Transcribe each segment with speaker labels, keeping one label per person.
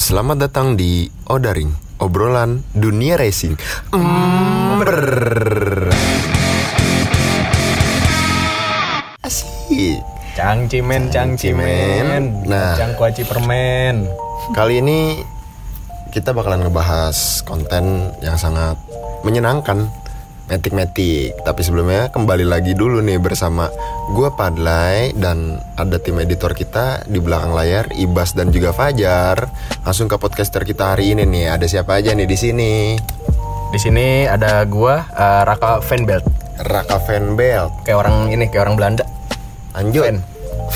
Speaker 1: Selamat datang di Odaring, obrolan dunia racing. Ember. Asik.
Speaker 2: Cang cimen, cang cimen.
Speaker 1: Nah.
Speaker 2: Cang kuaci permen.
Speaker 1: Kali ini kita bakalan ngebahas konten yang sangat menyenangkan. Metik-metik Tapi sebelumnya kembali lagi dulu nih bersama Gua Padlay Dan ada tim editor kita di belakang layar Ibas dan juga Fajar Langsung ke podcaster kita hari ini nih Ada siapa aja nih di sini
Speaker 2: Di sini ada gua eh, Raka Fanbelt.
Speaker 1: Raka Van Belt
Speaker 2: Kayak orang ini, kayak orang Belanda.
Speaker 1: Anjun
Speaker 2: Fan.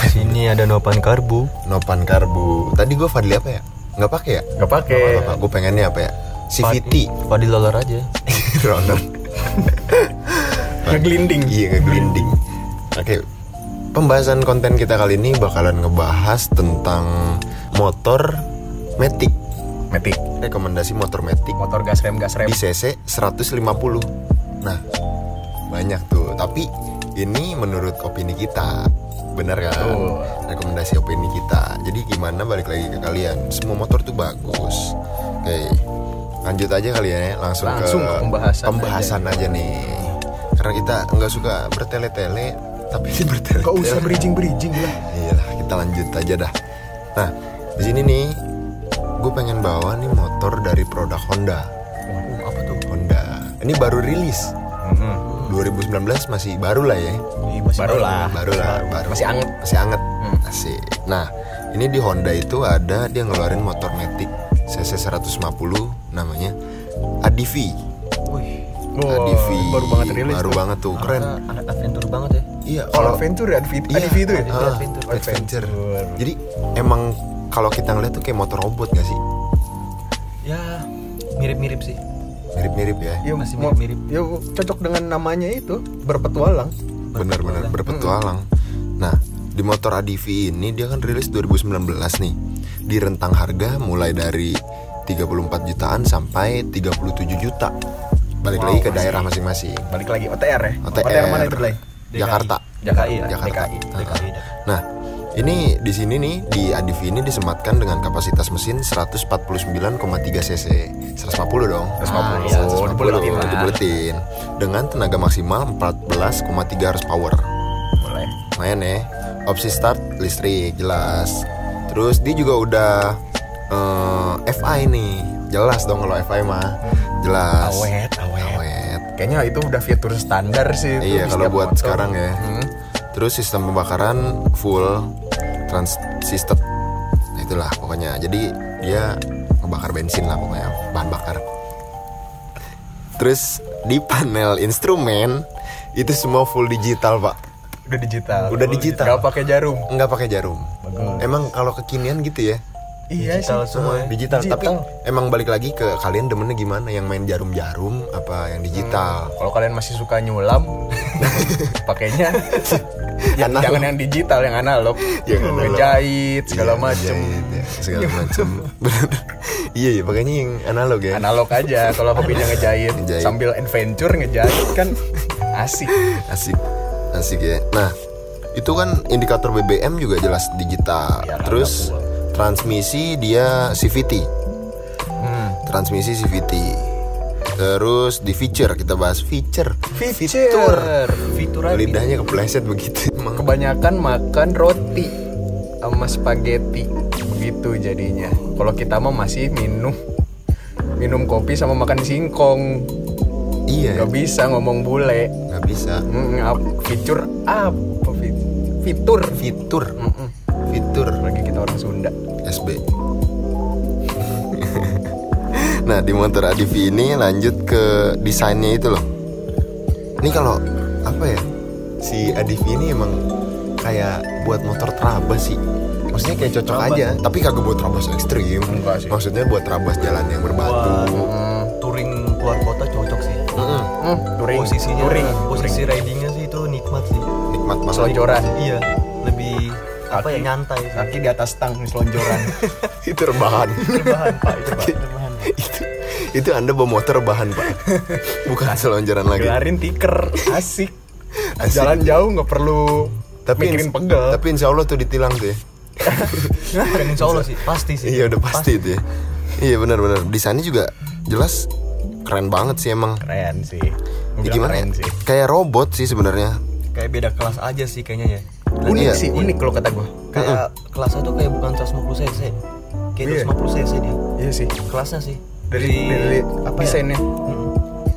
Speaker 3: Di sini ada Nopan Karbu.
Speaker 1: Nopan Karbu Tadi gua Fadli apa ya? Nggak pakai ya?
Speaker 2: Gak pake.
Speaker 1: Gue pengennya apa ya? CVT
Speaker 3: Fadil Lolar aja.
Speaker 1: Ronan
Speaker 2: Ngeglinding.
Speaker 1: Iya ngeglinding Oke Pembahasan konten kita kali ini bakalan ngebahas tentang motor Matic
Speaker 2: Metik.
Speaker 1: Rekomendasi motor Matic
Speaker 2: Motor gas rem, gas rem.
Speaker 1: di CC 150 Nah banyak tuh Tapi ini menurut opini kita Benar kan?
Speaker 2: Betul.
Speaker 1: Rekomendasi opini kita Jadi gimana balik lagi ke kalian Semua motor tuh bagus Oke lanjut aja kali ya Langsung,
Speaker 2: Langsung ke pembahasan
Speaker 1: pembahasan aja, nih Karena kita nggak suka bertele-tele Tapi ini bertele-tele
Speaker 2: Kok usah berijing-berijing lah.
Speaker 1: Iyalah, Iya, kita lanjut aja dah. Nah, di sini nih, gue pengen bawa nih motor dari produk Honda. apa tuh? Honda. Ini baru rilis. 2019 masih baru lah ya.
Speaker 2: Hmm. Baru lah.
Speaker 1: Baru lah, baru.
Speaker 2: Masih anget. Hmm.
Speaker 1: Masih anget. Asik. Nah, ini di Honda itu ada dia ngeluarin motor Matic CC 150 namanya ADV.
Speaker 3: Wih,
Speaker 1: ADV.
Speaker 2: baru banget rilis.
Speaker 1: Baru
Speaker 2: tuh.
Speaker 1: banget tuh, keren.
Speaker 3: anak adventure banget ya.
Speaker 1: Iya,
Speaker 2: All Adventure, Adv-
Speaker 1: Iya,
Speaker 2: ADV itu ya?
Speaker 1: ah, adventure. Jadi emang kalau kita ngeliat tuh kayak motor robot gak sih?
Speaker 3: Ya, mirip-mirip sih.
Speaker 1: Mirip-mirip ya.
Speaker 2: Yuk, Iya,
Speaker 3: Masih
Speaker 2: mau-
Speaker 3: mirip-mirip.
Speaker 2: yuk, cocok dengan namanya itu. Berpetualang.
Speaker 1: Bener-bener berpetualang.
Speaker 2: Hmm.
Speaker 1: Nah, di motor ADV ini dia kan rilis 2019 nih. Di rentang harga mulai dari 34 jutaan sampai 37 juta. Balik lagi ke daerah masing-masing.
Speaker 2: Balik lagi OTR ya?
Speaker 1: OTR.
Speaker 2: mana itu, Blay?
Speaker 1: Jakarta.
Speaker 3: DKI ya.
Speaker 1: Jakarta.
Speaker 3: DKI.
Speaker 1: Nah,
Speaker 3: DKI.
Speaker 1: Nah, ini di sini nih di ADV ini disematkan dengan kapasitas mesin 149,3 cc. 150 dong.
Speaker 2: 150.
Speaker 1: Ah, iya, 150.
Speaker 2: Dibuletin lah.
Speaker 1: Dibuletin. Dengan tenaga maksimal 14,3 horsepower.
Speaker 2: Boleh.
Speaker 1: Lumayan ya. Opsi start listrik jelas. Terus dia juga udah eh, FI nih. Jelas dong kalau FI mah. Jelas.
Speaker 2: Awet, awet.
Speaker 1: Awet.
Speaker 2: Kayaknya itu udah fitur standar sih. itu
Speaker 1: Iya kalau
Speaker 2: di setiap
Speaker 1: buat
Speaker 2: motor.
Speaker 1: sekarang ya.
Speaker 2: Hmm.
Speaker 1: Terus sistem pembakaran full trans system. Nah, Itulah pokoknya. Jadi dia ngebakar bensin lah pokoknya bahan bakar. Terus di panel instrumen itu semua full digital pak.
Speaker 2: Udah digital.
Speaker 1: Udah digital.
Speaker 2: Gak pakai jarum.
Speaker 1: Nggak pakai jarum.
Speaker 2: Bagus.
Speaker 1: Emang kalau kekinian gitu ya. Hmm.
Speaker 2: Iya
Speaker 3: Digital
Speaker 2: sih.
Speaker 3: semua ya.
Speaker 1: Digital.
Speaker 2: Digital.
Speaker 1: Tapi emang balik lagi ke kalian demennya gimana? Yang main jarum-jarum apa yang digital?
Speaker 2: Kalau kalian masih suka nyulam, pakainya yang
Speaker 1: Analog.
Speaker 2: jangan yang digital, yang analog.
Speaker 1: Yang analog.
Speaker 2: Ngejahit segala
Speaker 1: Iya,
Speaker 2: macem.
Speaker 1: dijahit ya, segala macem. Bener. Iya, iya, makanya yang analog ya.
Speaker 2: Analog aja. Kalau hobinya ngejahit,
Speaker 1: Ngejahit.
Speaker 2: sambil adventure ngejahit kan asik.
Speaker 1: Asik, asik ya. Nah, itu kan indikator BBM juga jelas digital.
Speaker 2: Iya,
Speaker 1: Terus
Speaker 2: ada
Speaker 1: transmisi dia CVT,
Speaker 2: Hmm.
Speaker 1: transmisi CVT. Terus di feature kita bahas feature.
Speaker 2: Fitur.
Speaker 3: Fitur aja.
Speaker 1: Lidahnya kepleset begitu. Emang
Speaker 2: Kebanyakan makan roti sama spaghetti begitu jadinya. Kalau kita mah masih minum minum kopi sama makan singkong.
Speaker 1: iya,
Speaker 2: Gak bisa ngomong bule.
Speaker 1: nggak bisa.
Speaker 2: Mm, ap- fitur apa fit- fitur?
Speaker 1: Fitur,
Speaker 2: Mm-mm.
Speaker 1: fitur.
Speaker 2: Lagi kita orang Sunda.
Speaker 1: SB. nah di motor ADV ini lanjut ke desainnya itu loh. Ini kalau apa ya si ADV ini emang kayak buat motor terabas sih. Maksudnya kayak cocok
Speaker 3: Terabas.
Speaker 1: aja, tapi kagak buat terabas ekstrim.
Speaker 2: Enggak sih.
Speaker 1: Maksudnya buat terabas jalan yang berbatu.
Speaker 3: Buat touring keluar kota cocok sih.
Speaker 1: Mm-mm,
Speaker 2: Mm, touring.
Speaker 3: Posisinya,
Speaker 2: touring.
Speaker 3: posisi ridingnya sih itu nikmat sih.
Speaker 1: nikmat banget.
Speaker 2: Selonjoran.
Speaker 3: Iya, lebih apa
Speaker 2: Kaki.
Speaker 3: ya nyantai. Sih.
Speaker 2: Kaki di atas tang selonjoran.
Speaker 1: itu rebahan.
Speaker 3: Rebahan pak, itu pak. Rebahan.
Speaker 1: itu itu anda bawa motor rebahan pak, bukan selonjoran lagi.
Speaker 2: Gelarin tiker. Asik.
Speaker 1: Asik.
Speaker 2: Jalan jauh nggak perlu
Speaker 1: Tapi
Speaker 2: mikirin pegel.
Speaker 1: Tapi insya Allah tuh ditilang tuh ya.
Speaker 2: Iya.
Speaker 3: Bukan insya Allah sih, pasti sih.
Speaker 1: Iya udah pasti itu ya. Iya benar-benar desainnya juga jelas keren banget sih emang.
Speaker 2: keren sih
Speaker 1: Ya,
Speaker 2: Gua bilang
Speaker 1: gimana?
Speaker 2: keren sih
Speaker 1: Kayak robot sih sebenarnya.
Speaker 3: Kayak beda kelas aja sih kayaknya ya.
Speaker 2: unik
Speaker 1: Iya.
Speaker 2: sih unik kalau kata gue
Speaker 3: Kayak kelasnya tuh kayak bukan 150 cc.
Speaker 2: Iya.
Speaker 3: Kayak 250 cc dia.
Speaker 2: iya sih
Speaker 3: Kelasnya sih.
Speaker 2: dari dari apa desainnya
Speaker 3: Ya? Mm-mm.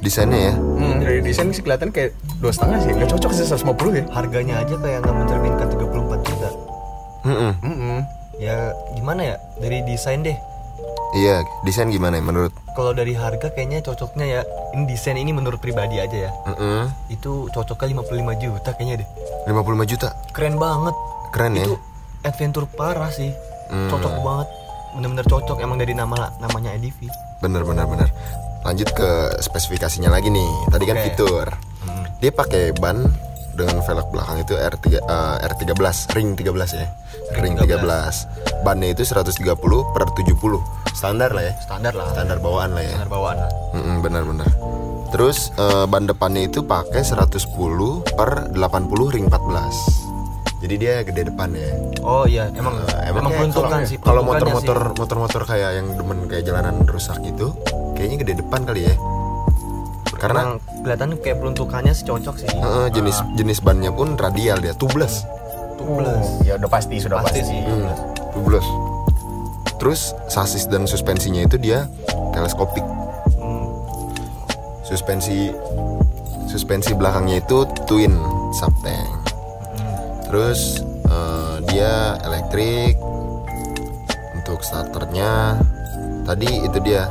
Speaker 1: Desainnya ya.
Speaker 2: Hmm, dari desain sih kelihatan kayak dua setengah sih nggak cocok sih 150 ya
Speaker 3: Harganya aja kayak nggak mencerminkan 34 juta.
Speaker 1: Mm-mm.
Speaker 2: Mm-mm.
Speaker 3: Ya gimana ya? Dari desain deh.
Speaker 1: Iya, desain gimana ya menurut?
Speaker 3: Kalau dari harga kayaknya cocoknya ya. Ini desain ini menurut pribadi aja ya.
Speaker 1: Mm-mm.
Speaker 3: Itu cocoknya 55 juta kayaknya deh.
Speaker 1: 55 juta.
Speaker 3: Keren banget.
Speaker 1: Keren ya.
Speaker 3: itu adventure parah sih
Speaker 1: Hmm.
Speaker 3: cocok banget bener-bener cocok emang dari nama namanya EDV
Speaker 1: Bener bener bener. Lanjut ke spesifikasinya lagi nih. Tadi kan
Speaker 3: Oke.
Speaker 1: fitur. Dia pakai ban dengan velg belakang itu R3 eh, R13 ring 13 ya. Ring
Speaker 3: Ring
Speaker 1: 13. Bannya itu 130 per 70. Standar lah ya.
Speaker 3: standar lah
Speaker 1: Standar bawaan lah ya.
Speaker 3: standar bawaan lah
Speaker 1: Mm-mm, bener bener. Terus eh, ban depannya itu pakai 110 per 80 ring 14. Jadi dia gede depannya.
Speaker 3: oh iya emang
Speaker 1: Eh,
Speaker 3: emang,
Speaker 1: kayak
Speaker 3: peruntukan
Speaker 1: kalau-
Speaker 3: sih
Speaker 1: Kalau
Speaker 3: peruntukannya
Speaker 1: motor-motor
Speaker 3: sih.
Speaker 1: motor-motor kayak yang demen kayak jalanan rusak gitu, kayaknya gede depan kali ya. Karena
Speaker 3: emang Ah. kelihatan kayak peruntukannya sih cocok sih
Speaker 1: eh, jenis jenis bannya pun radial dia, tubeless.
Speaker 3: Plus.
Speaker 2: Oh, ya udah pasti sudah
Speaker 3: pasti
Speaker 2: pasti,
Speaker 3: sih
Speaker 1: Hmm, tubeless. Terus sasis dan suspensinya itu dia teleskopik.
Speaker 3: Hmm,
Speaker 1: Suspensi suspensi belakangnya itu twin subtank. Terus eh, dia elektrik untuk starternya. Tadi itu dia.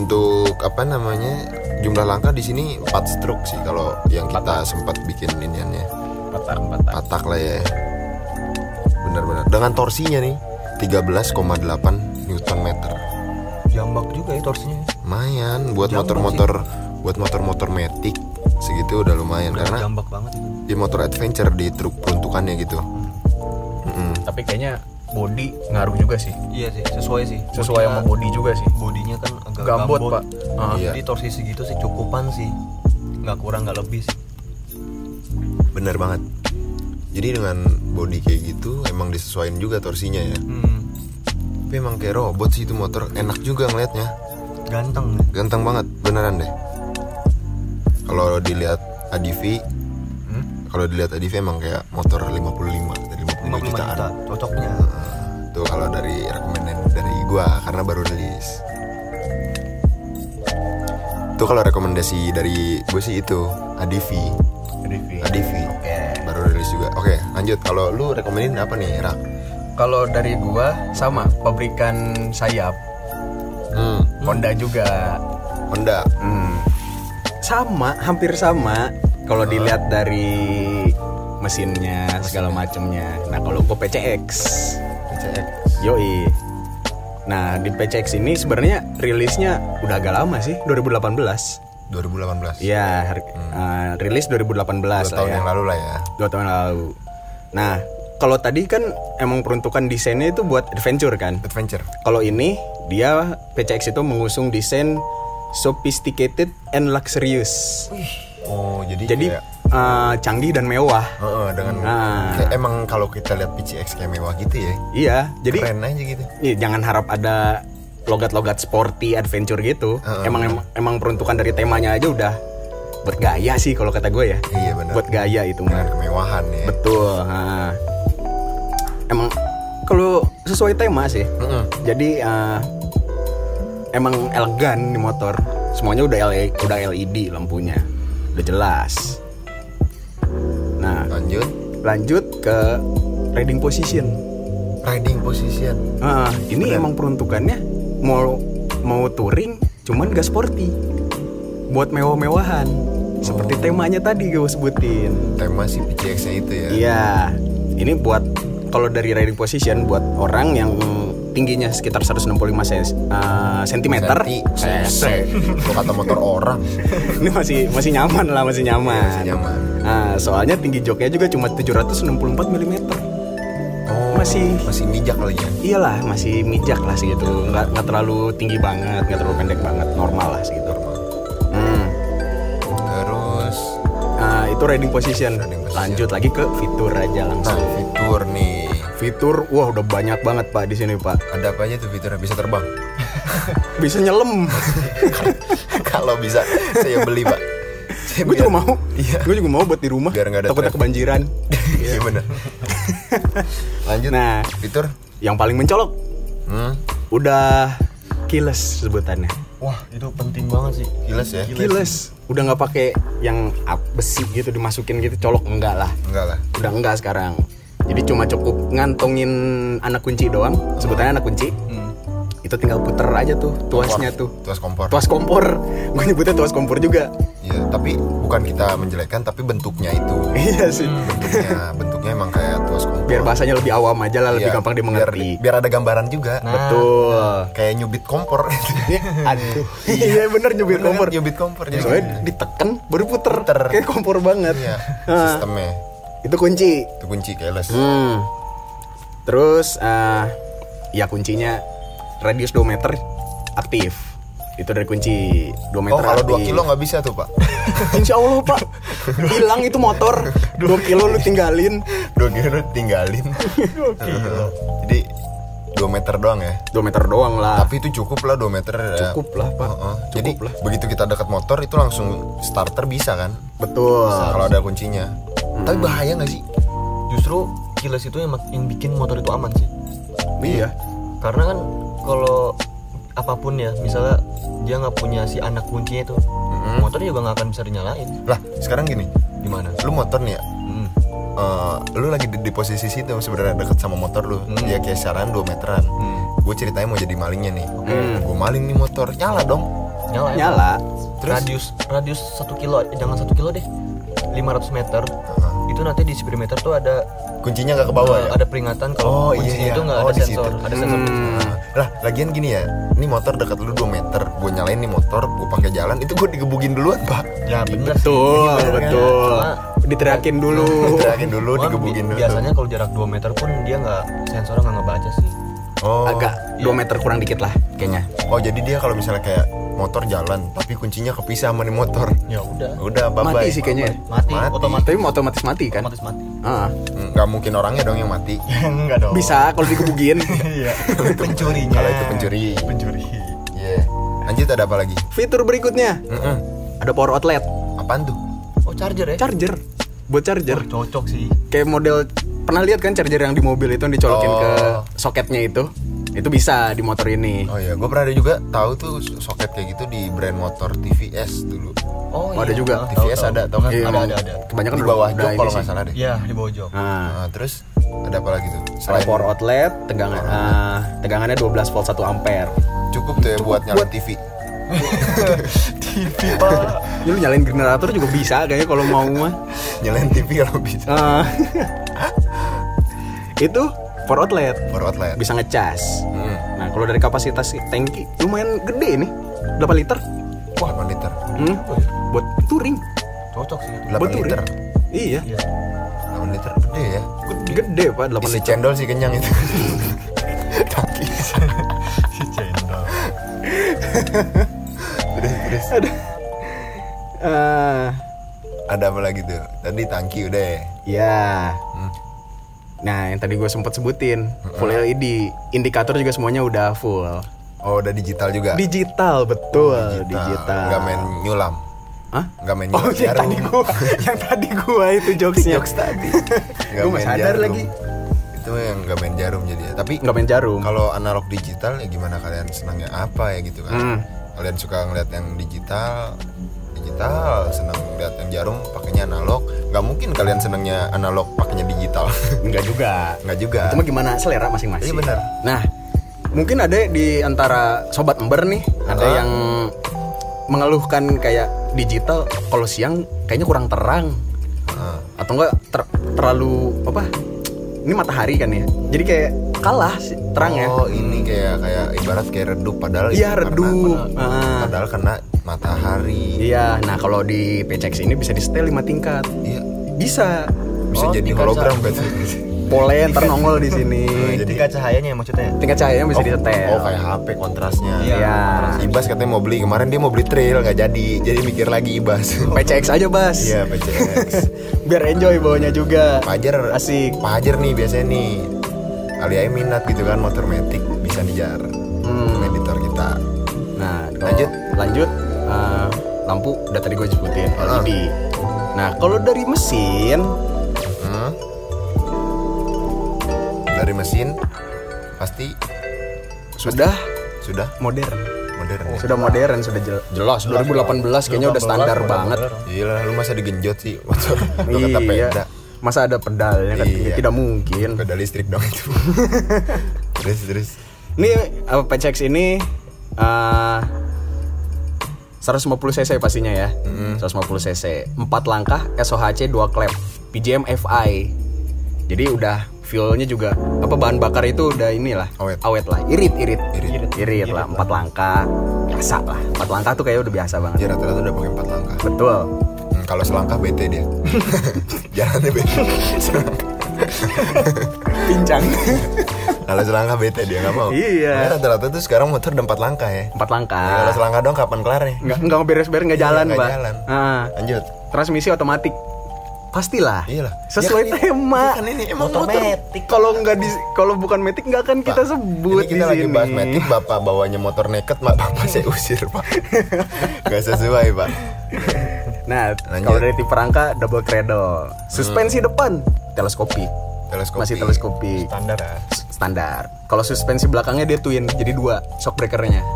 Speaker 1: Untuk apa namanya? Jumlah langkah di sini 4 stroke sih kalau yang kita sempat bikin iniannya.
Speaker 2: patah patah
Speaker 1: Patak lah ya. Benar-benar. Dengan torsinya nih 13,8 Newton meter.
Speaker 3: jambak juga ya torsinya
Speaker 1: Lumayan buat
Speaker 3: Jambak
Speaker 1: motor-motor buat motor-motor metik segitu udah lumayan karena
Speaker 3: jambak banget itu
Speaker 1: di motor adventure di truk peruntukannya gitu. Mm-mm.
Speaker 2: tapi kayaknya body ngaruh juga sih
Speaker 3: iya sih sesuai sih
Speaker 2: sesuai sama
Speaker 3: Bodinya-
Speaker 2: body juga sih
Speaker 3: bodinya kan agak
Speaker 2: gambot, pak Ah,
Speaker 1: Iya.
Speaker 3: jadi torsi segitu sih cukupan sih nggak kurang nggak lebih sih
Speaker 1: Bener banget. Jadi dengan body kayak gitu emang disesuaikan juga torsinya ya.
Speaker 3: Hmm,
Speaker 1: Tapi emang kayak robot sih itu motor, enak juga ngelihatnya.
Speaker 3: ganteng
Speaker 1: Ganteng banget, beneran deh. Kalau dilihat ADV,
Speaker 2: Hmm?
Speaker 1: kalau dilihat ADV emang kayak motor 55 dari
Speaker 3: 55
Speaker 1: 55,
Speaker 3: juta,
Speaker 1: jutaan.
Speaker 3: cocoknya
Speaker 1: Tuh kalau dari rekomenden dari gua karena baru rilis. Tuh kalau rekomendasi dari gue sih itu ADV.
Speaker 2: Review.
Speaker 1: ADV
Speaker 2: Oke.
Speaker 1: baru rilis juga oke lanjut kalau lu rekomenin apa nih Ra?
Speaker 2: kalau dari gua sama pabrikan sayap
Speaker 1: hmm.
Speaker 2: Honda juga
Speaker 1: Honda
Speaker 2: Hmm. sama hampir sama kalau dilihat dari mesinnya segala macemnya nah kalau gua PCX
Speaker 1: PCX
Speaker 2: Yoi. Nah, di PCX ini sebenarnya rilisnya udah agak lama sih, 2018.
Speaker 1: 2018
Speaker 2: Iya, har- eh, rilis 2018
Speaker 1: Hmm. dua tahun
Speaker 2: lah ya.
Speaker 1: yang lalu lah ya
Speaker 2: Dua tahun lalu. Nah, kalau tadi kan emang peruntukan desainnya itu buat adventure kan.
Speaker 1: adventure
Speaker 2: Kalau ini dia PCX itu mengusung desain sophisticated and luxurious.
Speaker 1: oh jadi
Speaker 2: Jadi
Speaker 1: kayak,
Speaker 2: eh, canggih dan mewah.
Speaker 1: Heeh, dengan
Speaker 2: Nah.
Speaker 1: kayak emang kalau kita lihat PCX kayak mewah gitu ya
Speaker 2: Iya, jadi
Speaker 1: keren aja gitu
Speaker 2: Iya, jangan harap ada logat-logat sporty adventure gitu.
Speaker 1: Heeh.
Speaker 2: Emang emang emang peruntukan dari temanya aja udah buat gaya sih kalau kata gue ya.
Speaker 1: Iya, benar.
Speaker 2: Buat gaya itu
Speaker 1: dengan
Speaker 2: mah.
Speaker 1: kemewahan ya
Speaker 2: Betul. ha. Emang kalau sesuai tema sih.
Speaker 1: Heeh.
Speaker 2: Jadi eh, emang elegan di motor. Semuanya udah LE udah LED lampunya. Udah jelas. Nah,
Speaker 1: lanjut
Speaker 2: lanjut ke riding position.
Speaker 1: riding position
Speaker 2: Ah, ini
Speaker 1: Bener.
Speaker 2: emang peruntukannya mau mau touring cuman gak sporty. Buat mewah-mewahan. Seperti temanya tadi gue sebutin.
Speaker 1: tema si PCX nya itu ya
Speaker 2: Iya. Ini buat kalau dari riding position buat orang yang tingginya sekitar 165 ses- eh, cm.
Speaker 1: Senti, sese Kalau kata motor orang
Speaker 2: ini masih masih nyaman lah, masih nyaman.
Speaker 1: Iya, masih nyaman.
Speaker 2: Ah, soalnya tinggi joknya juga cuma 764 mm.
Speaker 1: oh,
Speaker 2: Masih-
Speaker 1: masih mijak lagi ya
Speaker 2: Iyalah, masih mijak lah segitu. Nggak nggak terlalu tinggi banget, nggak terlalu pendek banget, normal lah segitu.
Speaker 1: normal
Speaker 2: Hmm.
Speaker 1: terus
Speaker 2: Nah, itu riding position.
Speaker 1: Riding position.
Speaker 2: Lanjut lagi ke fitur aja
Speaker 1: Nah,
Speaker 2: langsung.
Speaker 1: fitur nih.
Speaker 2: Nah, Fitur, wah udah banyak banget pak di sini pak.
Speaker 1: Ada apa aja tuh fiturnya bisa terbang?
Speaker 2: Bisa nyelam.
Speaker 1: Kalau bisa saya beli pak. Saya
Speaker 2: gue juga
Speaker 1: biar-
Speaker 2: mau.
Speaker 1: Iya.
Speaker 2: Gue juga mau buat di rumah.
Speaker 1: Biar nggak ada
Speaker 2: Takutnya
Speaker 1: traffic.
Speaker 2: kebanjiran.
Speaker 1: Iya benar. Lanjut.
Speaker 2: Nah.
Speaker 1: Fitur.
Speaker 2: Yang paling mencolok
Speaker 1: Hmm.
Speaker 2: udah keyless sebutannya.
Speaker 1: Wah itu penting banget sih. Giles ya.
Speaker 2: Keyless. Udah nggak pakai yang ap- besi gitu dimasukin gitu colok enggak lah.
Speaker 1: Enggak lah.
Speaker 2: Udah enggak sekarang. Jadi cuma cukup ngantongin anak kunci doang. Sebutannya anak kunci. Itu tinggal puter aja tuh tuasnya
Speaker 1: Hmm. Kompor.
Speaker 2: tuh.
Speaker 1: Tuas kompor.
Speaker 2: Tuas kompor. Gue nyebutnya tuas kompor juga.
Speaker 1: Iya. Tapi bukan kita menjelekkan tapi bentuknya itu.
Speaker 2: Iya sih.
Speaker 1: Hmm. Bentuknya bentuknya emang kayak tuas kompor.
Speaker 2: Biar bahasanya lebih awam aja lah, lebih
Speaker 1: Iya,
Speaker 2: gampang dimengerti. Nah.
Speaker 1: Biar, Ah. biar ada gambaran juga.
Speaker 2: Betul.
Speaker 1: Kayak nyubit kompor.
Speaker 2: Aduh. Iya bener Iya,
Speaker 1: Bener
Speaker 2: nyubit
Speaker 1: kan?
Speaker 2: kompor.
Speaker 1: Nyubit kompor. Jadi
Speaker 2: Soalnya
Speaker 1: kayak-
Speaker 2: ditekan baru puter.
Speaker 1: Puter.
Speaker 2: Kayak kompor banget.
Speaker 1: Iya.
Speaker 2: Nah,
Speaker 1: Sistemnya
Speaker 2: itu kunci.
Speaker 1: itu kunci keles.
Speaker 2: Hmm. Terus eh, ya kuncinya radius 2 meter aktif. Itu dari kunci 2
Speaker 1: Oh
Speaker 2: meter.
Speaker 1: kalau 2
Speaker 2: aktif.
Speaker 1: kilo nggak bisa tuh pak.
Speaker 2: Insya Allah pak Hilang itu motor 2 kilo lu tinggalin
Speaker 1: 2 kilo tinggalin. 2 kilo. Jadi 2 meter doang ya.
Speaker 2: 2 meter doang lah
Speaker 1: Tapi itu cukup lah 2 meter. ya.
Speaker 2: Ah. Cukup lah pak
Speaker 1: Heeh.
Speaker 2: Cukup
Speaker 1: Jadi
Speaker 2: lah
Speaker 1: begitu kita dekat motor itu langsung starter bisa kan?
Speaker 2: Betul
Speaker 1: Kalau ada kuncinya. Tapi bahaya nggak sih?
Speaker 3: Justru kilas itu yang, mak- yang bikin motor itu aman sih.
Speaker 2: Iya
Speaker 3: Karena kan kalau apapun ya, misalnya dia nggak punya si anak kuncinya itu, motornya juga nggak akan bisa dinyalain.
Speaker 1: Lah sekarang gini,
Speaker 3: Gimana?
Speaker 1: lu motor nih ya,
Speaker 3: Hmm.
Speaker 1: eh, lu lagi di, di posisi situ sebenarnya deket sama motor lu ya kayak saran 2 meteran
Speaker 3: Hmm.
Speaker 1: gue ceritanya mau jadi malingnya nih gue maling nih motor nyala dong
Speaker 3: Nyala. ya, Pak.
Speaker 2: Nyala
Speaker 1: Terus?
Speaker 3: Radius radius satu kilo, eh, jangan satu kilo deh, 500 meter. Itu nanti di speedometer tuh ada
Speaker 1: kuncinya nggak ke bawah ya
Speaker 3: ada iya, peringatan kalau kuncinya itu nggak
Speaker 1: Oh,
Speaker 3: ada
Speaker 1: di situ.
Speaker 3: sensor, ada sensor.
Speaker 1: Hmm. lah lagian gini ya ini motor deket lu 2 meter gue nyalain nih motor gue pakai jalan itu gue digebukin duluan pak
Speaker 3: Ya bener sih.
Speaker 2: Betul,
Speaker 3: Iya, bener.
Speaker 2: betul.
Speaker 3: Cuma-
Speaker 2: Diteriakin dulu.
Speaker 1: Teriakin dulu
Speaker 3: Cuma
Speaker 1: digebukin
Speaker 3: bi-
Speaker 1: dulu
Speaker 3: Biasanya kalau jarak 2 meter pun dia nggak sensornya nggak ngebaca sih.
Speaker 1: oh
Speaker 2: Agak 2 meter kurang dikit lah kayaknya.
Speaker 1: oh jadi dia kalau misalnya kayak motor jalan tapi kuncinya kepisah sama nih motor
Speaker 3: Ya udah.
Speaker 1: udah bye
Speaker 2: Mati sih kayaknya. ya?
Speaker 3: Mati,
Speaker 1: Mati. Mm,
Speaker 3: otomatis
Speaker 2: Tapi otomatis mati kan?
Speaker 3: otomatis mati.
Speaker 2: Ah.
Speaker 1: nggak mungkin orangnya dong yang mati
Speaker 3: Enggak dong.
Speaker 2: Bisa kalau digebukin.
Speaker 3: Iya. Pencurinya.
Speaker 1: kalau itu pencuri
Speaker 3: Pencuri.
Speaker 1: Iya. Lanjut ada apa lagi?
Speaker 2: Fitur berikutnya
Speaker 1: Mm-mm.
Speaker 2: ada power outlet,
Speaker 1: Apaan tuh?
Speaker 3: Oh charger ya?
Speaker 2: charger. Buat charger.
Speaker 3: Wah, cocok sih.
Speaker 2: Kayak model pernah lihat kan charger yang di mobil itu yang dicolokin
Speaker 1: Oh.
Speaker 2: ke soketnya itu? Itu bisa di motor ini.
Speaker 1: Oh iya, gue pernah ada juga tahu tuh soket kayak gitu di brand motor TVS dulu.
Speaker 3: Oh,
Speaker 1: iya.
Speaker 2: ada juga.
Speaker 3: Tahu,
Speaker 1: TVS
Speaker 3: tahu.
Speaker 1: ada, tau kan?
Speaker 2: Iya,
Speaker 3: Ada
Speaker 2: emang
Speaker 3: ada ada.
Speaker 2: Kebanyakan
Speaker 1: di
Speaker 2: udah-
Speaker 1: bawah
Speaker 2: udah
Speaker 1: jok
Speaker 2: ini
Speaker 1: kalau
Speaker 2: sih.
Speaker 1: nggak salah deh.
Speaker 3: Iya, di bojok.
Speaker 2: Ah.
Speaker 1: Nah, terus ada apa lagi tuh?
Speaker 2: Ada
Speaker 1: Selain
Speaker 2: power outlet, tegangan ah, tegangannya 12 volt 1 ampere.
Speaker 1: cukup tuh ya buat nyalain TV.
Speaker 2: Ya, Lu nyalain generator juga bisa kayaknya kalau mau mah.
Speaker 1: Nyalain TV kalau bisa.
Speaker 2: Eh, itu for outlet
Speaker 1: Power outlet.
Speaker 2: bisa ngecas.
Speaker 1: Hmm.
Speaker 2: Nah, kalau dari kapasitas tangki lumayan gede nih. 8 liter.
Speaker 1: Wah, 8 liter.
Speaker 2: Hmm, buat touring.
Speaker 3: Cocok sih.
Speaker 1: 8
Speaker 2: Betul,
Speaker 1: liter.
Speaker 2: Iya.
Speaker 3: Iya.
Speaker 1: 8 liter gede ya.
Speaker 2: Gede Pak 8
Speaker 1: Isi
Speaker 2: liter.
Speaker 1: cendol sih kenyang itu. Tangki.
Speaker 3: Si cendol.
Speaker 1: terus terus
Speaker 2: Eh,
Speaker 1: ada apa lagi tuh? Tadi tangki udah ya.
Speaker 2: ya.
Speaker 1: Hmm.
Speaker 2: Nah, yang tadi gue sempat sebutin, full LED, indikator juga semuanya udah full.
Speaker 1: Oh, udah digital juga.
Speaker 2: Digital betul, Oh, digital.
Speaker 1: Gak main nyulam.
Speaker 2: Hah?
Speaker 1: Gak main
Speaker 2: Oh,
Speaker 1: nyulam.
Speaker 2: yang
Speaker 1: jarum.
Speaker 2: tadi gua, yang tadi gua itu jokesnya.
Speaker 1: Jokes tadi. Nggak
Speaker 2: Gua
Speaker 1: main
Speaker 2: masih sadar lagi.
Speaker 1: Itu yang gak main jarum jadi ya. Tapi
Speaker 2: Nggak main jarum.
Speaker 1: kalau analog digital ya gimana kalian senangnya apa ya gitu kan?
Speaker 2: Hmm.
Speaker 1: Kalian suka ngeliat yang digital, digital senang ngeliat yang jarum pakainya analog. Gak mungkin kalian senangnya analog pakainya digital.
Speaker 2: Enggak juga.
Speaker 1: Gak juga.
Speaker 2: Cuma gimana selera
Speaker 1: Iya,
Speaker 2: masing-masing.
Speaker 1: benar.
Speaker 2: Nah, mungkin ada di antara sobat ember nih, ada
Speaker 1: Ah.
Speaker 2: yang mengeluhkan kayak digital kalau siang kayaknya kurang terang
Speaker 1: Heeh.
Speaker 2: atau enggak ter- terlalu apa? Ini matahari kan ya. Jadi kayak kalah si- terangnya.
Speaker 1: Oh ini kayak kayak ibarat kayak redup padahal itu
Speaker 2: ya. Iya,
Speaker 1: karena-
Speaker 2: redup.
Speaker 1: Padahal,
Speaker 2: Ah.
Speaker 1: padahal kena matahari.
Speaker 2: Iya, nah kalau di PCX ini bisa di setel 5 tingkat.
Speaker 1: Iya.
Speaker 2: Bisa.
Speaker 1: Bisa
Speaker 3: Oh,
Speaker 1: jadi
Speaker 3: tingkat
Speaker 1: hologram
Speaker 3: satu.
Speaker 1: kan?
Speaker 2: Boleh ntar nongol di sini.
Speaker 1: Jadi-
Speaker 3: Tingkat cahayanya ya maksudnya.
Speaker 2: Tingkat cahayanya bisa
Speaker 1: oh,
Speaker 2: disetel.
Speaker 1: iya. Oh kayak HP kontrasnya.
Speaker 3: Iya.
Speaker 2: Iya.
Speaker 1: Ibas katanya mau beli kemarin dia mau beli trail nggak jadi jadi mikir lagi Ibas.
Speaker 2: PCX aja, Bas.
Speaker 1: Oh, Iya PCX.
Speaker 2: Biar enjoy bawanya juga.
Speaker 1: Pajar
Speaker 2: Asik.
Speaker 1: Pajar nih biasanya nih kali aja minat gitu kan motor metik bisa dijar
Speaker 2: Hmm.
Speaker 1: editor kita
Speaker 2: Nah, kalau
Speaker 1: Lanjut.
Speaker 2: Lanjut. eh, lampu udah tadi gue sebutin LED. Nah, kalau dari mesin,
Speaker 1: Hmm. dari mesin pasti
Speaker 2: sudah
Speaker 1: sudah
Speaker 2: modern.
Speaker 1: modern ya?
Speaker 2: Sudah modern, sudah jel- Oh. jelas. 2018 kayaknya udah standar banget.
Speaker 1: Gila, lu masa digenjot sih motor lu kata
Speaker 2: Iya.
Speaker 1: peda
Speaker 2: Masa ada pedalnya kan?
Speaker 1: Iya.
Speaker 2: Tidak mungkin.
Speaker 1: peda listrik dong itu terus terus
Speaker 2: Ini apa PCX ini eh 150 cc pastinya ya. 150 cc, 4 langkah SOHC 2 klep, PGM FI. Jadi udah fuelnya juga apa bahan bakar itu udah inilah
Speaker 1: Awet.
Speaker 2: lah, irit-irit.
Speaker 1: Irit.
Speaker 2: Irit, lah, 4 langkah. Biasa lah. 4 langkah tuh kayak udah biasa banget.
Speaker 1: dia Ya, rata-rata udah pakai empat langkah
Speaker 2: Betul.
Speaker 1: Hmm, kalau selangkah bete dia jalannya bete Selangkah.
Speaker 2: Pincang.
Speaker 1: kalau selangkah bete dia nggak mau
Speaker 2: Iya. Ah.
Speaker 1: Dia rata-rata tuh sekarang motor udah empat langkah ya
Speaker 2: 4 langkah.
Speaker 1: kalau selangkah dong kapan kelar ya
Speaker 2: Nggak enggak beres-beres enggak jalan,
Speaker 1: nggak
Speaker 2: Pak.
Speaker 1: jalan.
Speaker 2: Ah,
Speaker 1: lanjut
Speaker 2: transmisi otomatik. Pastilah.
Speaker 1: iyalah Ya kan
Speaker 2: Sesuai
Speaker 1: ini-
Speaker 2: tema.
Speaker 1: ya kan ini emang
Speaker 3: Motor
Speaker 1: motor,
Speaker 3: metik.
Speaker 2: Kalau nggak di kalau bukan metik nggak akan kita
Speaker 1: Pak,
Speaker 2: sebut
Speaker 1: ini kita
Speaker 2: di
Speaker 1: lagi
Speaker 2: sini.
Speaker 1: bahas metik bapak bawanya motor naked mak bapak saya usir pak nggak sesuai pak
Speaker 2: Nah,
Speaker 1: Lanjut. Hmm.
Speaker 2: kalau dari tipe rangka double cradle, suspensi depan teleskopik,
Speaker 1: teleskopik
Speaker 2: masih teleskopik
Speaker 3: standar
Speaker 1: ah.
Speaker 2: standar. Kalau suspensi belakangnya dia twin, jadi dua shock breakernya,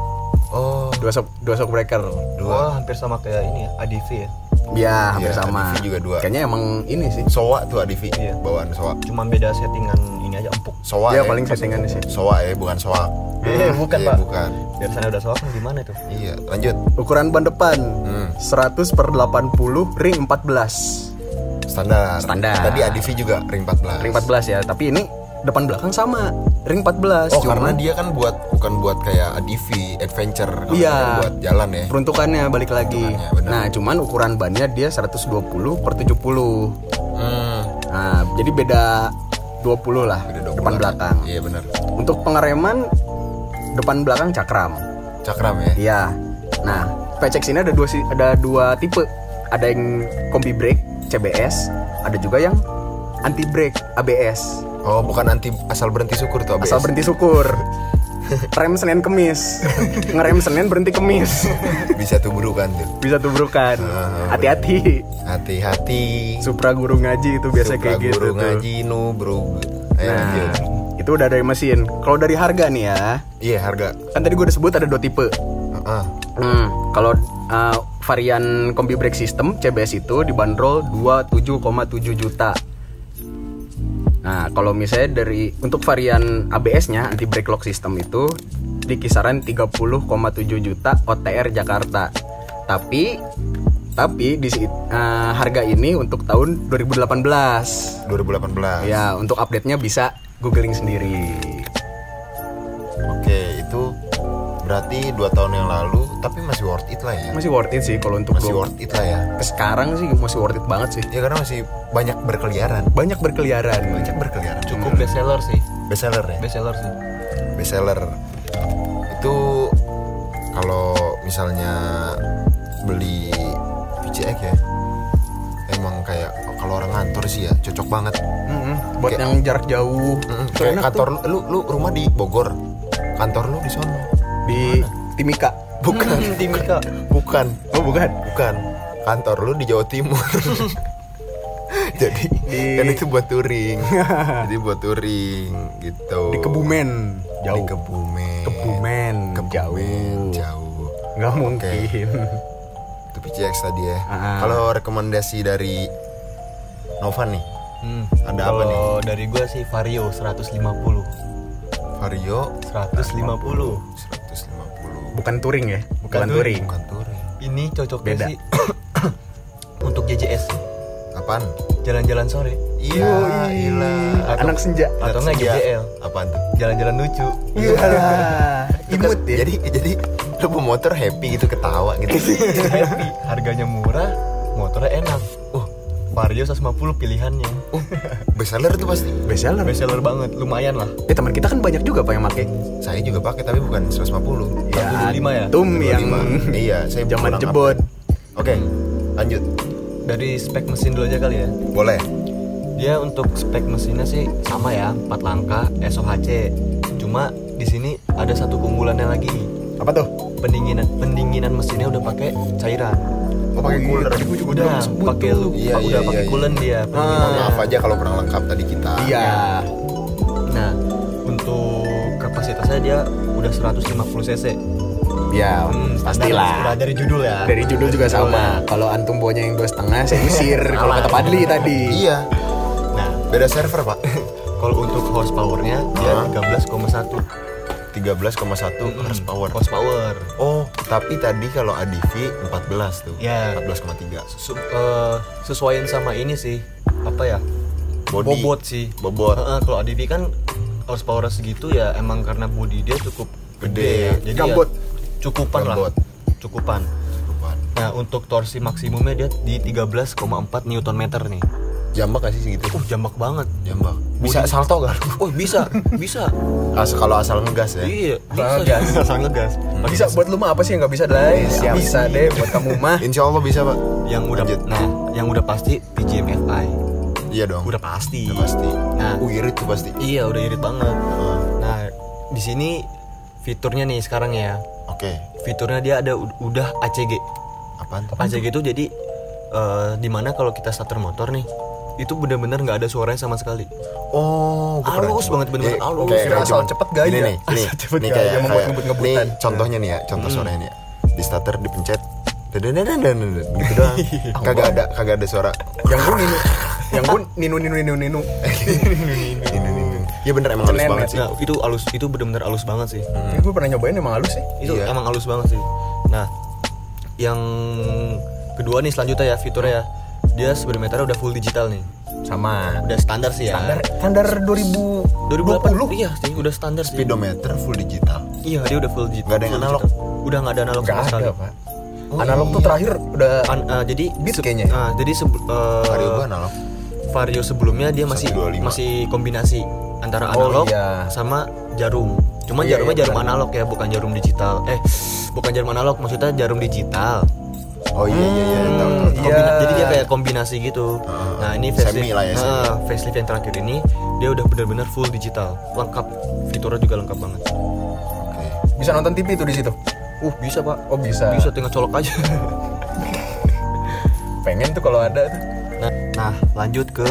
Speaker 1: oh
Speaker 2: dua shock dua shock breaker.
Speaker 3: dua Oh, hampir sama kayak ini ya ADV ya
Speaker 2: Ya, hampir
Speaker 1: Iya,
Speaker 2: sama.
Speaker 1: ADV juga dua.
Speaker 2: Kayaknya emang ini sih.
Speaker 1: sowa tuh adivi
Speaker 3: Iya.
Speaker 1: bawaan sowa
Speaker 3: cuma beda settingan ini aja empuk
Speaker 1: sowa ya.
Speaker 2: ya paling settingannya sih.
Speaker 1: sowa ya bukan sowa
Speaker 3: Eh, bukan,
Speaker 1: Iya,
Speaker 3: Pak.
Speaker 1: bukan
Speaker 3: dari sana udah soal gimana tuh
Speaker 1: iya lanjut
Speaker 2: Ukuran ban depan
Speaker 1: Hmm.
Speaker 2: 100 per 80 ring 14.
Speaker 1: standar
Speaker 2: Standar.
Speaker 1: tadi adivi juga ring 14
Speaker 2: Ring 14 ya, tapi ini depan belakang sama. Ring 14
Speaker 1: Oh
Speaker 2: cuma-
Speaker 1: karena dia kan buat bukan buat kayak ADV adventure kalau
Speaker 2: Iya.
Speaker 1: dia buat jalan ya.
Speaker 2: peruntukannya balik lagi.
Speaker 1: Peruntukannya, benar.
Speaker 2: Nah, cuman ukuran bannya dia 120 per 70.
Speaker 1: Hmm.
Speaker 2: Nah, jadi beda 20 lah
Speaker 1: Beda dua
Speaker 2: depan
Speaker 1: bulan.
Speaker 2: belakang.
Speaker 1: Iya benar.
Speaker 2: Untuk pengereman depan belakang cakram.
Speaker 1: Cakram ya.
Speaker 2: Iya. Nah, PCX ini ada dua si- ada dua tipe. Ada yang kombi brake CBS, ada juga yang anti brake ABS.
Speaker 1: Oh bukan anti asal berhenti syukur tuh ABS.
Speaker 2: Asal berhenti syukur. Rem Senin Kemis. Ngerem Senin berhenti Kemis.
Speaker 1: Bisa tuh burukan tuh.
Speaker 2: Bisa tubrukan.
Speaker 1: Ah,
Speaker 2: Hati-hati.
Speaker 1: Hati-hati.
Speaker 2: Supra guru ngaji itu biasa
Speaker 1: Suka
Speaker 2: kayak gitu
Speaker 1: guru
Speaker 2: tuh.
Speaker 1: ngaji nu bro. Ayo
Speaker 2: Nah,
Speaker 1: lanjut.
Speaker 2: itu udah dari mesin. Kalau dari harga nih ya,
Speaker 1: Iya harga.
Speaker 2: kan tadi gue udah sebut ada dua tipe.
Speaker 1: Heeh.
Speaker 2: Hmm, kalau uh, varian kombi brake system CBS itu dibanderol 27,7 juta. Nah, kalau misalnya dari untuk varian ABS-nya anti brake lock system itu di kisaran 30,7 juta OTR Jakarta. Tapi tapi di si- uh, harga ini untuk tahun 2018.
Speaker 1: 2018.
Speaker 2: Ya, untuk update-nya bisa googling sendiri.
Speaker 1: Oke itu berarti dua tahun yang lalu tapi masih worth it lah ya.
Speaker 2: Masih worth it sih kalau untuk
Speaker 1: Masih
Speaker 2: gua-
Speaker 1: worth it lah ya.
Speaker 2: Sekarang sih masih worth it banget sih.
Speaker 1: Ya karena masih banyak berkeliaran.
Speaker 2: Banyak berkeliaran.
Speaker 1: Banyak berkeliaran.
Speaker 3: cukup best seller sih
Speaker 1: Best seller ya.
Speaker 3: best seller sih
Speaker 1: bestseller itu kalau misalnya beli PCX ya emang kayak kalau orang kantor sih ya cocok banget
Speaker 2: Mm-mm, Buat
Speaker 1: Kayak-
Speaker 2: yang jarak jauh.
Speaker 1: Mm-mm,
Speaker 2: Itu
Speaker 1: kayak
Speaker 2: enak
Speaker 1: kantor
Speaker 2: tuh.
Speaker 1: lu, lu lu rumah di Bogor kantor lu di sono
Speaker 2: di Timika.
Speaker 1: bukan
Speaker 3: Timika
Speaker 1: bukan
Speaker 2: Oh, bukan.
Speaker 1: bukan kantor lu di Jawa Timur jadi
Speaker 2: Di-
Speaker 1: kan itu buat touring jadi buat touring gitu
Speaker 2: Di Kebumen.
Speaker 1: di Kebumen
Speaker 2: Kebumen.
Speaker 1: Kebumen,
Speaker 2: Jauh.
Speaker 1: jauh
Speaker 2: Nggak mungkin.
Speaker 1: itu PCX tadi ya.
Speaker 2: Ah.
Speaker 1: Kalau rekomendasi dari Novan nih,
Speaker 3: hmm.
Speaker 1: Ada apa
Speaker 3: kalau dari gua sih Vario 150 150
Speaker 1: Vario 150.
Speaker 2: Bukan touring ya?
Speaker 3: Bukan touring.
Speaker 1: Bukan touring.
Speaker 3: ini cocoknya
Speaker 2: Beda.
Speaker 3: sih untuk JJS
Speaker 1: Apaan?
Speaker 3: jalan-jalan sore
Speaker 1: Iya, ilah.
Speaker 2: Anak senja.
Speaker 3: atau
Speaker 1: Anak
Speaker 3: nggak
Speaker 1: senja.
Speaker 3: GJL.
Speaker 1: Apaan tuh? kan
Speaker 3: jalan-jalan lucu
Speaker 2: Iya. Imut ya.
Speaker 1: Jadi jadi lu bawa motor happy gitu ketawa gitu.
Speaker 3: happy harganya murah motornya enak uh Vario 150 pilihannya uh
Speaker 1: Bestseller tuh pasti.
Speaker 2: bestseller.
Speaker 3: best seller banget lumayan lah
Speaker 2: Eh, teman kita kan banyak juga Pak yang pakai.
Speaker 1: Saya juga pakai tapi bukan 150.
Speaker 3: Ya, 25 ya?
Speaker 2: Tum yang
Speaker 1: 25. iya, saya
Speaker 2: zaman
Speaker 1: kurang
Speaker 2: jebot.
Speaker 1: update. Oke, lanjut.
Speaker 3: dari spek mesin dulu aja kali ya
Speaker 1: Boleh.
Speaker 3: Dia untuk spek mesinnya sih sama ya, 4 langkah SOHC. Cuma di sini ada satu keunggulannya lagi.
Speaker 1: Apa tuh?
Speaker 3: Pendinginan pendinginan mesinnya udah pakai cairan.
Speaker 1: Oh, pakai cooler. Tadi gua juga
Speaker 3: Udah
Speaker 1: belum sebut
Speaker 3: pakai
Speaker 1: tuh.
Speaker 3: lu,
Speaker 1: Iya,
Speaker 3: udah
Speaker 1: iya,
Speaker 3: pakai
Speaker 1: iya, iya.
Speaker 3: coolant dia
Speaker 1: Mohon
Speaker 3: pendinginannya.
Speaker 1: maaf aja kalau kurang lengkap tadi kita.
Speaker 2: Iya.
Speaker 3: Nah, untuk kapasitasnya dia udah 150 cc.
Speaker 2: Ya,
Speaker 3: Hmm, standar
Speaker 2: pastilah.
Speaker 3: Udah dari judul ya.
Speaker 2: Dari judul juga sama. Kalau antum bawanya yang dua setengah, saya usir. Kalau kata Padli tadi.
Speaker 1: Iya.
Speaker 3: Nah,
Speaker 1: Beda server, Pak.
Speaker 3: kalau untuk horsepowernya dia
Speaker 1: Ah. Hmm.
Speaker 3: 13,1
Speaker 1: 13,1
Speaker 3: Mm-mm.
Speaker 1: horsepower.
Speaker 3: Horsepower.
Speaker 1: Oh, tapi tadi kalau ADV 14 tuh.
Speaker 3: Ya.
Speaker 1: 14,3.
Speaker 3: Su- eh, sesuaiin sama ini sih. Apa ya?
Speaker 1: Body.
Speaker 3: Bobot sih.
Speaker 1: Bobot.
Speaker 3: Heeh, kalau ADV kan horsepower segitu ya emang karena body dia cukup
Speaker 1: Gede.
Speaker 3: gede, ya. Jadi ya,
Speaker 2: Gambot.
Speaker 3: cukupan
Speaker 1: Gambot.
Speaker 3: lah. Cukupan. Nah, untuk torsi maksimumnya dia di 13,4 Newton meter nih.
Speaker 1: Jambak gak sih segitu?
Speaker 3: Uh, jambak banget.
Speaker 1: Jambak. Bisa salto gak?
Speaker 3: Oh, bisa, bisa.
Speaker 1: As kalau asal ngegas ya.
Speaker 3: Iya, bisa gas, asal ngegas. Pakai
Speaker 4: Bisa buat lu mah apa sih yang nggak bisa Lai?
Speaker 1: Siap.
Speaker 4: Bisa deh buat kamu mah.
Speaker 1: Insya Allah bisa, Pak.
Speaker 3: yang udah
Speaker 1: Lanjut.
Speaker 3: nah, yang udah pasti PGMFI.
Speaker 1: Iya dong.
Speaker 3: Udah pasti.
Speaker 1: Udah pasti.
Speaker 3: Nah.
Speaker 1: Uh, irit tuh pasti.
Speaker 3: Iya, udah irit banget.
Speaker 1: Heeh.
Speaker 3: Nah, di sini fiturnya nih sekarang ya.
Speaker 1: Oke.
Speaker 3: Fiturnya dia ada u- udah ACG.
Speaker 1: Apaan tuh?
Speaker 3: ACG itu jadi eh, dimana kalau kita starter motor nih itu bener-bener nggak ada suaranya sama sekali.
Speaker 1: Oh, gua pernah
Speaker 3: Halus
Speaker 1: coba.
Speaker 3: banget, bener-bener
Speaker 1: Iya,
Speaker 3: halus.
Speaker 1: kayak-
Speaker 4: Kira
Speaker 1: kayak
Speaker 4: asal
Speaker 1: cuman-
Speaker 4: cepet gaya.
Speaker 1: Ini nih, ini,
Speaker 4: Asal cepet
Speaker 1: ini
Speaker 4: gaya,
Speaker 1: kayak,
Speaker 4: yang membuat ngebut-ngebutan.
Speaker 1: Nih, contohnya nih ya, contoh suaranya nih ya. Di starter dipencet, dan gitu doang. kagak ada, kagak ada suara.
Speaker 4: Yang gue ninu, yang gue ninu ninu ninu ninu.
Speaker 1: Ini nih. Iya bener emang halus
Speaker 4: Cenenet.
Speaker 1: banget sih.
Speaker 3: Nah, itu alus itu bener-bener alus banget sih.
Speaker 4: Ini gue pernah nyobain emang halus sih.
Speaker 3: itu
Speaker 1: Iya.
Speaker 3: emang halus banget sih nah yang kedua nih selanjutnya ya fiturnya ya dia speedometernya udah full digital nih
Speaker 4: Sama.
Speaker 3: udah standar sih ya
Speaker 4: Standar standar 2000
Speaker 3: 2020 iya sih udah standar sih
Speaker 1: Speedometer full digital.
Speaker 3: iya dia udah full digi- full
Speaker 1: Nggak
Speaker 3: digital
Speaker 1: ada yang analog?
Speaker 3: udah nggak ada analog
Speaker 4: Gak
Speaker 3: sama sekali
Speaker 4: ada pak. Analog tuh terakhir udah
Speaker 3: An- eh, jadi
Speaker 4: Beat
Speaker 3: se-
Speaker 4: kayaknya ya?
Speaker 3: ah, jadi sebe- eh,
Speaker 1: Vario gua analog.
Speaker 3: vario sebelumnya dia masih
Speaker 1: 125.
Speaker 3: masih kombinasi antara
Speaker 4: Oh,
Speaker 3: analog
Speaker 4: iya.
Speaker 3: sama jarum cuman
Speaker 4: Iya,
Speaker 3: jarumnya
Speaker 4: iya,
Speaker 3: jarum
Speaker 4: benar.
Speaker 3: analog ya bukan jarum digital eh bukan jarum analog maksudnya jarum digital
Speaker 1: Oh iya iya iya.
Speaker 4: Iya.
Speaker 1: tahu, tahu, tahu.
Speaker 4: Ah,
Speaker 3: Kombina- jadi dia kayak kombinasi gitu. nah ini facelift,
Speaker 1: semi lah ya, semi.
Speaker 3: Ah, facelift yang terakhir ini dia udah benar-benar full digital, lengkap, fiturnya juga lengkap banget.
Speaker 1: Oke.
Speaker 4: bisa nonton TV tuh di situ.
Speaker 3: Uh bisa pak?
Speaker 4: Oh bisa.
Speaker 3: Bisa tinggal colok aja.
Speaker 4: Pengen tuh kalau ada. tuh.
Speaker 3: nah, nah, lanjut ke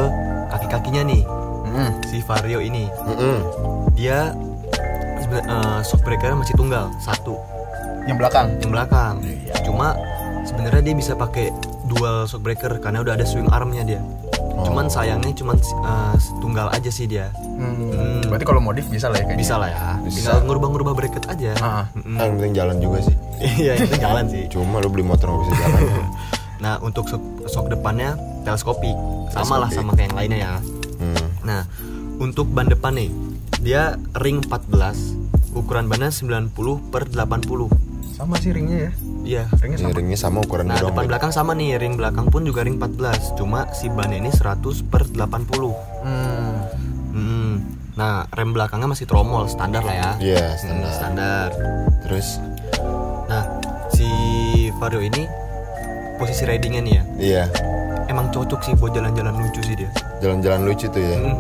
Speaker 3: kaki-kakinya nih
Speaker 4: Hmm.
Speaker 3: si Vario ini.
Speaker 1: Mm-mm.
Speaker 3: Dia seben- eh, shock breaker masih tunggal satu
Speaker 4: Yang belakang.
Speaker 3: yang belakang. Cuma sebenarnya dia bisa pakai dual shock breaker karena udah ada swing armnya dia. Cuman sayangnya cuman eh, tunggal aja sih dia.
Speaker 4: Hmm. Berarti kalau modif bisa lah ya kayaknya.
Speaker 3: bisa lah ya tinggal ngurubah-ngurubah bracket aja
Speaker 4: Ah.
Speaker 1: Ah, yang penting jalan juga sih.
Speaker 3: iya itu jalan sih
Speaker 1: Cuma lu beli motor nggak bisa jalan.
Speaker 3: nah untuk sok, sok depannya teleskopik sama lah sama kayak yang lainnya ya
Speaker 1: Hmm.
Speaker 3: nah untuk ban depan nih dia ring 14 ukuran bannya 90 per 80
Speaker 4: Sama sih ringnya ya.
Speaker 3: iya
Speaker 4: Ringnya sama.
Speaker 1: Ringnya sama ukuran
Speaker 3: nah
Speaker 1: gua doang.
Speaker 3: depan
Speaker 1: Bang.
Speaker 3: belakang sama nih ring belakang pun juga ring 14 cuma si ban ini 100 per 80
Speaker 4: Hmm.
Speaker 3: Mm-mm. nah rem belakangnya masih tromol standar lah ya
Speaker 1: Iya,
Speaker 3: Mm,
Speaker 1: standar.
Speaker 3: standar
Speaker 1: Terus
Speaker 3: Nah, si Vario ini posisi ridingnya nih ya,
Speaker 1: iya,
Speaker 3: emang cocok sih buat jalan-jalan lucu sih dia.
Speaker 1: jalan-jalan lucu tuh ya.
Speaker 3: Mm,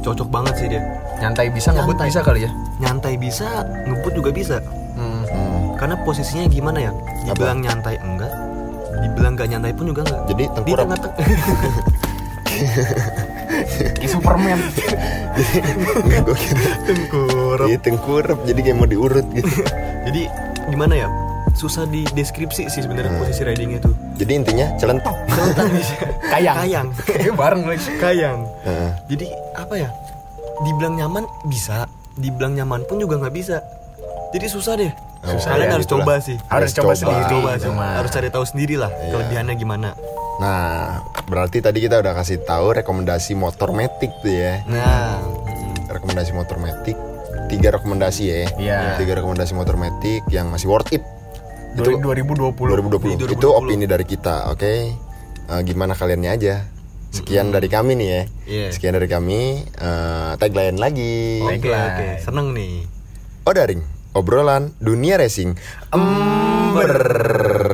Speaker 3: cocok banget sih dia.
Speaker 4: Nyantai bisa ngebut
Speaker 3: Nyantai.
Speaker 4: bisa kali ya.
Speaker 3: Nyantai bisa, ngebut juga bisa.
Speaker 4: Hmm.
Speaker 1: Hmm.
Speaker 3: Karena posisinya gimana ya? Dibilang nyantai enggak, dibilang gak nyantai pun juga enggak.
Speaker 1: Jadi
Speaker 3: Di
Speaker 1: tengkurap.
Speaker 3: tengah-tengah.
Speaker 4: Superman.
Speaker 1: Enggak gue kira tengkurap. Iya tengkurap jadi kayak mau diurut gitu.
Speaker 3: Jadi gimana ya? Susah dideskripsi sih
Speaker 4: Eh.
Speaker 3: sebenarnya posisi ridingnya tuh.
Speaker 1: jadi intinya celentang.
Speaker 4: Kayang.
Speaker 3: Kayang.
Speaker 4: Dia bareng lagi.
Speaker 3: Kayang.
Speaker 1: Heeh.
Speaker 3: Jadi apa ya? Dibilang nyaman bisa, dibilang nyaman pun juga nggak bisa. Jadi susah deh.
Speaker 1: Oh,
Speaker 3: Susah. Kalian
Speaker 1: ya,
Speaker 3: harus
Speaker 1: gitu
Speaker 3: coba
Speaker 1: lah.
Speaker 3: sih.
Speaker 4: Harus coba sendiri.
Speaker 3: Coba sih.
Speaker 4: cuma.
Speaker 3: Harus cari tahu sendiri lah
Speaker 1: Iya.
Speaker 3: kelebihannya gimana.
Speaker 1: Nah, berarti tadi kita udah kasih tahu rekomendasi motor metik tuh ya.
Speaker 4: Hmm.
Speaker 3: Nah,
Speaker 1: Rekomendasi motor metik tiga rekomendasi ya.
Speaker 4: Iya.
Speaker 1: Tiga rekomendasi motor metik yang masih worth it. Itu
Speaker 4: 2020.
Speaker 1: 2020.
Speaker 3: Di
Speaker 1: Itu
Speaker 3: 2020.
Speaker 1: opini dari kita, oke? Eh, gimana kaliannya aja. Sekian dari kami nih ya.
Speaker 3: Iya.
Speaker 1: Sekian dari kami. Eh, tagline lagi.
Speaker 3: oke
Speaker 4: Baiklah.
Speaker 3: oke, seneng nih.
Speaker 1: Oh, Odaring, obrolan dunia racing. Ember.